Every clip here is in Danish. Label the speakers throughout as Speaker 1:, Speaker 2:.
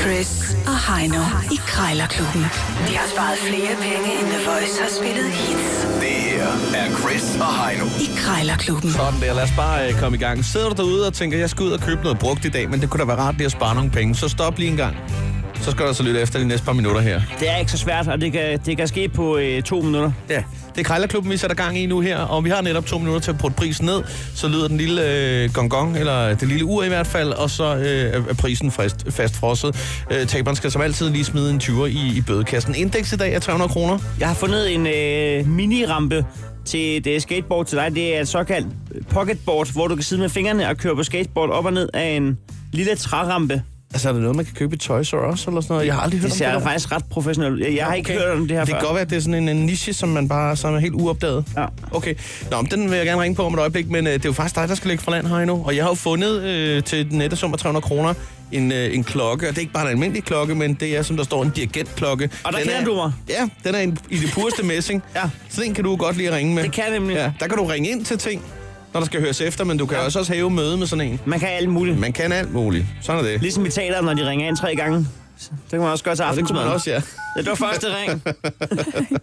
Speaker 1: Chris og Heino i Krejlerklubben. De har sparet flere penge, end The Voice har spillet hits
Speaker 2: Det her er Chris og Heino.
Speaker 1: i Krejlerklubben.
Speaker 3: Sådan der, lad os bare øh, komme i gang. Sidder du derude og tænker, jeg skal ud og købe noget brugt i dag, men det kunne da være rart lige at spare nogle penge, så stop lige en gang. Så skal du altså lytte efter de næste par minutter her.
Speaker 4: Det er ikke så svært, og det kan, det kan ske på øh, to minutter.
Speaker 3: Ja, det er Krejlerklubben, vi sætter gang i nu her, og vi har netop to minutter til at putte prisen ned. Så lyder den lille øh, gongong, eller det lille ur i hvert fald, og så øh, er- er prisen frist, fastfrosset. Øh, taberen skal som altid lige smide en 20'er i, i bødekassen. Indeks i dag er 300 kroner.
Speaker 4: Jeg har fundet en øh, mini-rampe til et øh, skateboard til dig. Det er et såkaldt pocketboard, hvor du kan sidde med fingrene og køre på skateboard op og ned af en lille trærampe.
Speaker 3: Altså, er der noget, man kan købe i Toys R Us eller sådan noget? Jeg har aldrig hørt
Speaker 4: Det
Speaker 3: om
Speaker 4: ser
Speaker 3: det.
Speaker 4: jo
Speaker 3: der.
Speaker 4: faktisk ret professionelt ud. Jeg, jeg har ikke hørt om det her
Speaker 3: Det
Speaker 4: før.
Speaker 3: kan godt være, at det er sådan en, en niche, som man bare som er helt uopdaget.
Speaker 4: Ja.
Speaker 3: Okay. Nå, men den vil jeg gerne ringe på om et øjeblik, men øh, det er jo faktisk dig, der skal lægge for land her endnu. Og jeg har jo fundet øh, til den nette sum af 300 kroner en, øh, en klokke. Og det er ikke bare en almindelig klokke, men det er, som der står, en dirigentklokke.
Speaker 4: Og der
Speaker 3: Den
Speaker 4: kender
Speaker 3: er-
Speaker 4: du mig.
Speaker 3: Ja, den er en, i det pureste messing.
Speaker 4: Ja.
Speaker 3: Så den kan du jo godt lige ringe med.
Speaker 4: Det kan jeg nemlig.
Speaker 3: Ja, der kan du ringe ind til ting, når der skal høres efter, men du kan ja. også, også have møde med sådan en.
Speaker 4: Man kan alt muligt.
Speaker 3: Man kan alt muligt. Sådan er det.
Speaker 4: Ligesom i teateret, når de ringer ind tre gange. Så Det kan man også gøre til
Speaker 3: Og det kunne
Speaker 4: aftensmad.
Speaker 3: man også, ja.
Speaker 4: Ja, det var første ring. Den-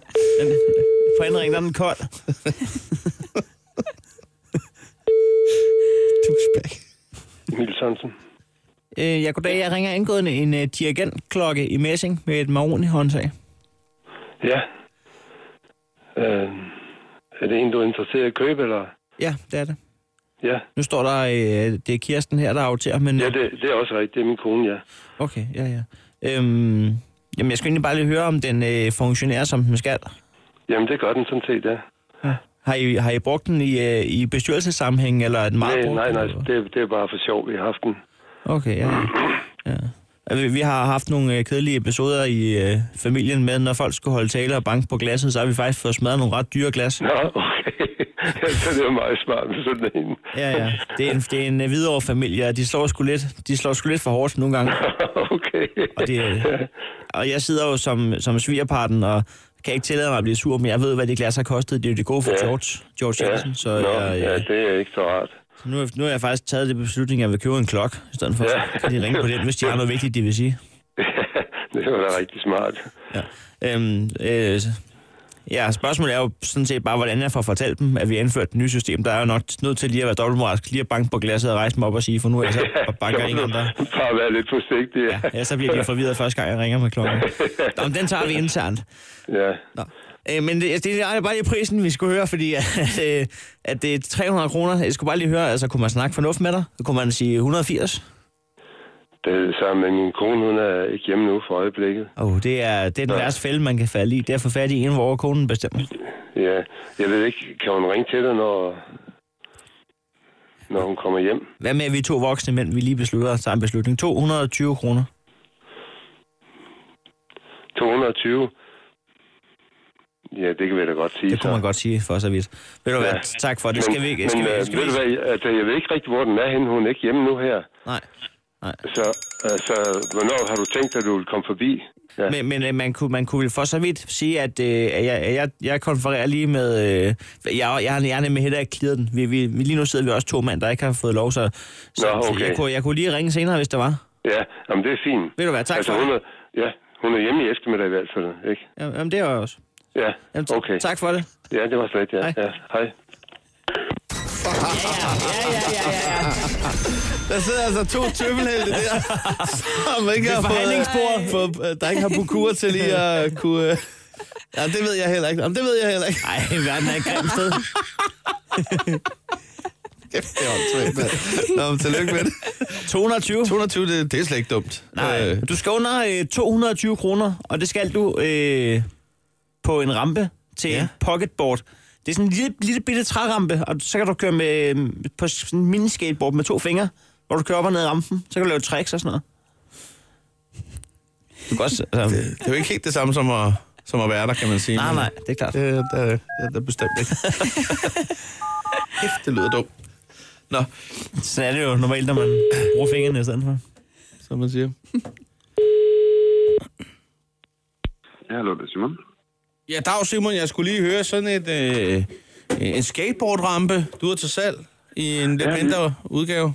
Speaker 4: På anden ring, der er den kold.
Speaker 3: Douchebag.
Speaker 5: Emil Sørensen.
Speaker 4: Øh, ja, goddag. Jeg ringer angående en øh, dirigent-klokke i Messing med et maroni håndtag.
Speaker 5: Ja. Øh, er det en, du er interesseret i at købe, eller?
Speaker 4: Ja, det er det.
Speaker 5: Ja,
Speaker 4: Nu står der, øh, det er Kirsten her, der aftager, men...
Speaker 5: ja det, det er også rigtigt. Det er min kone, ja.
Speaker 4: Okay, ja, ja. Øhm, jamen, jeg skal egentlig bare lige høre, om den øh, funktionerer, som den skal.
Speaker 5: Jamen, det gør den sådan set, ja.
Speaker 4: Ja. Har, I, har I brugt den i, øh, i bestyrelsessammenhæng, eller er den meget
Speaker 5: Nej,
Speaker 4: Ah, brugt?
Speaker 5: nej, nej.
Speaker 4: eller?
Speaker 5: Det, det er bare for sjov, vi har haft den.
Speaker 4: Okay, ja. ja. Altså, vi- Vi har haft nogle øh, kedelige episoder i øh, familien med, når folk skulle holde taler og banke på glasset, så har vi faktisk fået smadret nogle ret dyre glas.
Speaker 5: Nå, okay. ja, så det er meget smart med sådan en.
Speaker 4: Ja, ja. Det er en, det er en øh, videre familie, og de slår, sgu lidt, de slår sgu lidt for hårdt nogle gange.
Speaker 5: okay.
Speaker 4: Og, det, øh, og jeg sidder jo som, som svigerparten, og kan ikke tillade mig at blive sur, men jeg ved, hvad de glas har kostet. Det er jo det gode for
Speaker 5: Ja.
Speaker 4: George, George
Speaker 5: Ja,
Speaker 4: Jensen, så
Speaker 5: Nå,
Speaker 4: jeg,
Speaker 5: ja,
Speaker 4: jeg,
Speaker 5: det er ikke så rart.
Speaker 4: nu, har- nu har jeg faktisk taget det beslutning, at jeg vil købe en klok, i stedet for
Speaker 5: Ja.
Speaker 4: at de ringer på den, hvis de har noget vigtigt, de vil sige.
Speaker 5: det var da rigtig smart.
Speaker 4: Ja. Øhm, øh, ja, spørgsmålet er jo sådan set bare, hvordan jeg får fortalt dem, at vi har indført et nyt system. Der er jo nok nødt til lige at være dobbeltmoralsk, lige at banke på glasset og rejse mig op og sige, for nu er jeg så og banker ingen andre.
Speaker 5: Bare være lidt forsigtig, ja.
Speaker 4: Ja, så bliver de forvirret første gang, jeg ringer med klokken. Nå, men den tager vi internt.
Speaker 5: ja.
Speaker 4: Nå. Øh, men det, det er bare lige prisen, vi skulle høre, fordi at, øh, at det er 300 kroner. Jeg skulle bare lige høre, altså kunne man snakke fornuft med dig? Kunne man sige 180?
Speaker 5: Det er det samme med min kone. Hun er ikke hjemme nu for øjeblikket.
Speaker 4: Åh, oh, det er, det er den værste fælde, man kan falde i. Det er at få fat i en, hvor konen bestemmer.
Speaker 5: Ja, jeg ved ikke, kan hun ringe til dig, når, når hun kommer hjem?
Speaker 4: Hvad med, at vi to voksne mænd, vi lige beslutter os en beslutning? 220 kroner.
Speaker 5: 220? Ja, det kan vi da godt sige.
Speaker 4: Det kunne man godt sige for så vidt. Ved du hvad,
Speaker 5: Ja.
Speaker 4: tak for det. Skal vi ikke?
Speaker 5: Men,
Speaker 4: Skal vi,
Speaker 5: men, øh,
Speaker 4: skal vi,
Speaker 5: ved du
Speaker 4: ikke?
Speaker 5: hvad, altså, jeg ved ikke rigtig, hvor den er henne. Hun er ikke hjemme nu her.
Speaker 4: Nej. Nej.
Speaker 5: Så altså, hvornår har du tænkt dig, at du vil komme forbi? Ja.
Speaker 4: Men, men øh, man, kunne, man kunne vel for så vidt sige, at, øh, at jeg, at jeg, jeg konfererer lige med... Øh, jeg, jeg, har- jeg har nemlig heller ikke clearet den. Vi, vi, vi, lige nu sidder vi også to mand, der ikke har fået lov, så, så,
Speaker 5: Nå,
Speaker 4: så jeg,
Speaker 5: okay.
Speaker 4: kunne, jeg kunne lige ringe senere, hvis der var.
Speaker 5: Ja, jamen, det er fint.
Speaker 4: Ved du hvad, tak
Speaker 5: altså,
Speaker 4: for
Speaker 5: hun
Speaker 4: det.
Speaker 5: er, Ja, hun er hjemme i eftermiddag i hvert fald, ikke?
Speaker 4: Jamen, jamen, det er jeg også.
Speaker 5: Ja,
Speaker 4: Jamen, t-
Speaker 5: okay.
Speaker 4: Tak for det.
Speaker 5: Ja, det var slet, ja.
Speaker 4: Hej.
Speaker 5: ja. Hej.
Speaker 3: Der sidder altså to tømmelhelte der, som ikke har fået,
Speaker 4: forhandlingsbordet.
Speaker 3: for, der ikke har bukur til lige at kunne... øh, Ja, det ved jeg heller ikke. Jamen, det ved jeg heller ikke.
Speaker 4: Ej, verden er et grimt sted.
Speaker 3: Kæft, det er åndssvagt, mand. Nå, men tillykke med det.
Speaker 4: 220.
Speaker 3: 220, det, det er slet ikke dumt.
Speaker 4: Nej, du skal under øh, 220 kroner, og det skal du øh, på en rampe til
Speaker 3: Ja.
Speaker 4: ja. pocketboard. Det er sådan en lille, lille bitte trærampe, og så kan du køre med, øh, på sådan en miniskateboard med to fingre, hvor du kører op og ned ad rampen. Så kan du lave tricks og sådan noget. Du kan også... Altså, det,
Speaker 3: det er jo ikke helt det samme som at, som at være der, kan man sige.
Speaker 4: nej,
Speaker 3: men
Speaker 4: nej, det er klart.
Speaker 3: Det, det, det, det er bestemt ikke. Kæft, det lyder dumt. Nå,
Speaker 4: Sådan er det jo normalt, når man bruger fingrene i stedet for.
Speaker 3: som man siger.
Speaker 5: Ja, hallo, det er Simon.
Speaker 3: Ja, dag Simon, jeg skulle lige høre sådan et, øh, en skateboardrampe, du har til salg i en lidt
Speaker 5: Ja,
Speaker 3: mindre udgave.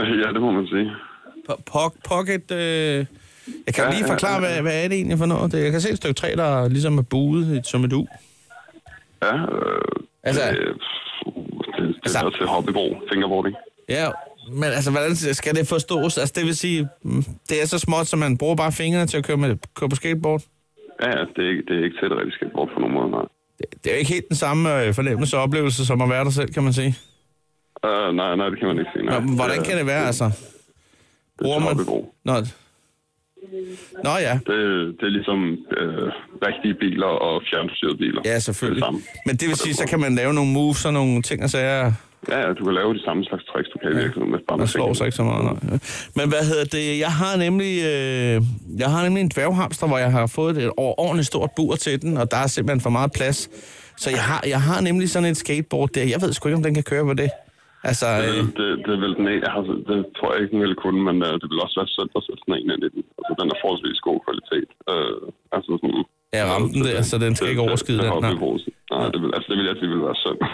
Speaker 5: Ja, det må man sige.
Speaker 3: Po- po- pocket, øh, Jeg kan ja, lige forklare, ja, ja. Hvad, hvad er det egentlig for noget? Det, jeg kan se et stykke træ, der ligesom er buet som et u.
Speaker 6: Ja, øh,
Speaker 3: Altså,
Speaker 6: det, det, det
Speaker 3: altså-
Speaker 6: er noget til hobbybrug, fingerboarding.
Speaker 3: ja, men altså, hvordan skal det forstås? Altså, det vil sige, mm, det er så småt, så man bruger bare fingrene til at køre, med, køre på skateboard.
Speaker 6: Ja, ja, det er, ikke- det er ikke til at rigtig skateboard på nogen måde, nej.
Speaker 3: Det, det er jo ikke helt den samme øh, fornemmelse og oplevelse, som at være der selv, kan man sige.
Speaker 6: Uh, nej, nej, det kan man ikke sige. Nej. Øh,
Speaker 3: Nå, men hvordan kan det være, altså? Bruger man...
Speaker 6: hobbybrug.
Speaker 3: Nå, Nå ja.
Speaker 6: Det, det er ligesom øh, rigtige biler og fjernstyrede biler.
Speaker 3: Ja,
Speaker 6: Det
Speaker 3: selvfølgelig.
Speaker 6: er det samme.
Speaker 3: Men det vil sige, så kan man lave nogle moves og nogle ting og sager,
Speaker 6: Ja, ja, du kan lave de samme slags tricks, du kan i virkeligheden, hvis bare
Speaker 3: Man
Speaker 6: man
Speaker 3: slår sig ikke så meget, nej. Men hvad hedder det? Jeg har nemlig, øh, jeg har nemlig en dværghamster, hvor jeg har fået et overordentligt stort bur til den, og der er simpelthen for meget plads. Så jeg har, jeg har nemlig sådan et skateboard der. Jeg ved sgu ikke, om den kan køre på det. Altså, øh,
Speaker 6: Det, det, det, vil den ikke, altså, det tror jeg ikke, den ville kunne, men øh, det vil også være sødt at sætte sådan en ind i den. Altså, den er forholdsvis god kvalitet. Øh, altså sådan...
Speaker 3: Ja, rampen der, så den skal ikke overskride den,
Speaker 6: Nej,
Speaker 3: nej.
Speaker 6: nej det, vil, altså, det vil jeg sige, ville være sødt.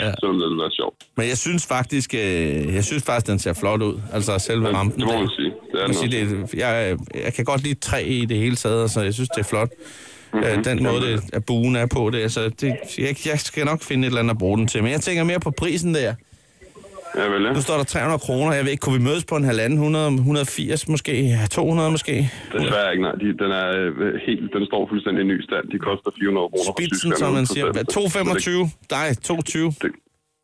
Speaker 6: Ja.
Speaker 3: Ja.
Speaker 6: ja. Så ville det være sjovt.
Speaker 3: men jeg synes faktisk, øh, jeg synes faktisk, den ser flot ud. Altså selve rampen.
Speaker 6: det må
Speaker 3: der.
Speaker 6: man sige. Det er
Speaker 3: Man siger,
Speaker 6: noget.
Speaker 3: det, er- jeg, øh, jeg kan godt lide træ i det hele taget, altså jeg synes, det er flot.
Speaker 6: Mhm.
Speaker 3: Mm-hmm. Den måde, det, at buen er på det, altså det, jeg, jeg skal nok finde et eller andet at bruge den til. Men jeg tænker mere på prisen der.
Speaker 6: Ja, vel, ja.
Speaker 3: Nu står der 300 kroner. Jeg ved ikke, kunne vi mødes på en halvanden, 100, 180 måske, Ja, 200 måske?
Speaker 6: Desværre ikke, nej. De, den, er øh, helt, den står fuldstændig i ny stand. De koster 400 kroner. fra
Speaker 3: Spidsen,
Speaker 6: Tyskland
Speaker 3: som man
Speaker 6: uden
Speaker 3: siger. Hvad,
Speaker 6: procent. Så
Speaker 3: 225? Nej, 220.
Speaker 6: Det, det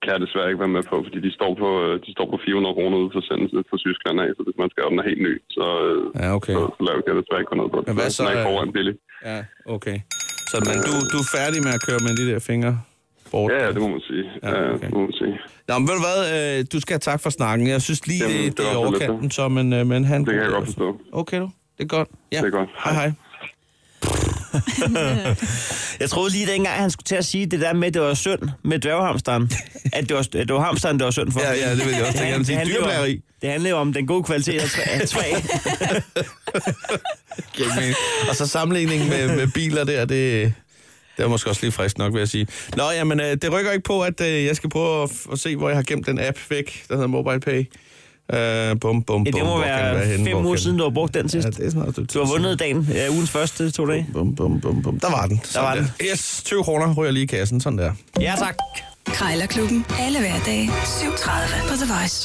Speaker 6: kan jeg desværre ikke være med på, fordi de står på, øh, de står på 400 kroner ude for sendelse fra Tyskland af, så hvis man skal have den er helt ny, så, øh,
Speaker 3: Ja, okay.
Speaker 6: så, så laver jeg desværre ikke noget på det.
Speaker 3: Men hvad så,
Speaker 6: Den er ikke
Speaker 3: øh,
Speaker 6: foran billig.
Speaker 3: Ja, okay. Så men du, du er færdig med at køre med de der fingre? Bort.
Speaker 6: Ja, ja, det må man sige. Ja,
Speaker 3: okay.
Speaker 6: okay. det må man sige.
Speaker 3: Nå, men ved du hvad, øh, du skal have tak for snakken. Jeg synes lige,
Speaker 6: Jamen,
Speaker 3: det,
Speaker 6: det
Speaker 3: det
Speaker 6: var
Speaker 3: er
Speaker 6: så lidt,
Speaker 3: overkanten, så, men, øh, men han...
Speaker 6: Det kan jeg godt forstå.
Speaker 3: Okay du, det er godt. Ja.
Speaker 6: Det er godt.
Speaker 3: Hej hej.
Speaker 4: Jeg troede lige dengang, han skulle til at sige det der med, at det var synd med dværghamsteren. At det var, at det var hamsteren, det var synd for.
Speaker 3: Ja, ja, det vil jeg også tænke. Jeg vil sige,
Speaker 4: handler jo om-
Speaker 3: dyreplageri.
Speaker 4: det handler jo om den gode kvalitet af træ. af træ.
Speaker 3: Og så sammenligningen med, med biler der, det, det er måske også lige frisk nok, vil jeg sige. Nå, jamen, øh, det rykker ikke på, at øh, jeg skal prøve at, f- at se, hvor jeg har gemt den app væk, der hedder MobilePay. Øh, bum, bum,
Speaker 4: Ja,
Speaker 3: bum.
Speaker 4: det må
Speaker 3: hvor kan den
Speaker 4: være
Speaker 3: henne?
Speaker 4: fem
Speaker 3: Hvor
Speaker 4: uger
Speaker 3: kan
Speaker 4: siden,
Speaker 3: den-
Speaker 4: du har brugt den sidst.
Speaker 3: Ja, det er sådan noget,
Speaker 4: Du har vundet dagen, ja, ugens første to dage.
Speaker 3: Bum, bum, bum, bum. Der var den. Sådan
Speaker 4: var den.
Speaker 3: Yes, 20 kroner ryger lige i kassen. Sådan der.
Speaker 4: Ja, tak.
Speaker 1: Krejlerklubben. Alle hverdage. 7.30 på The Voice.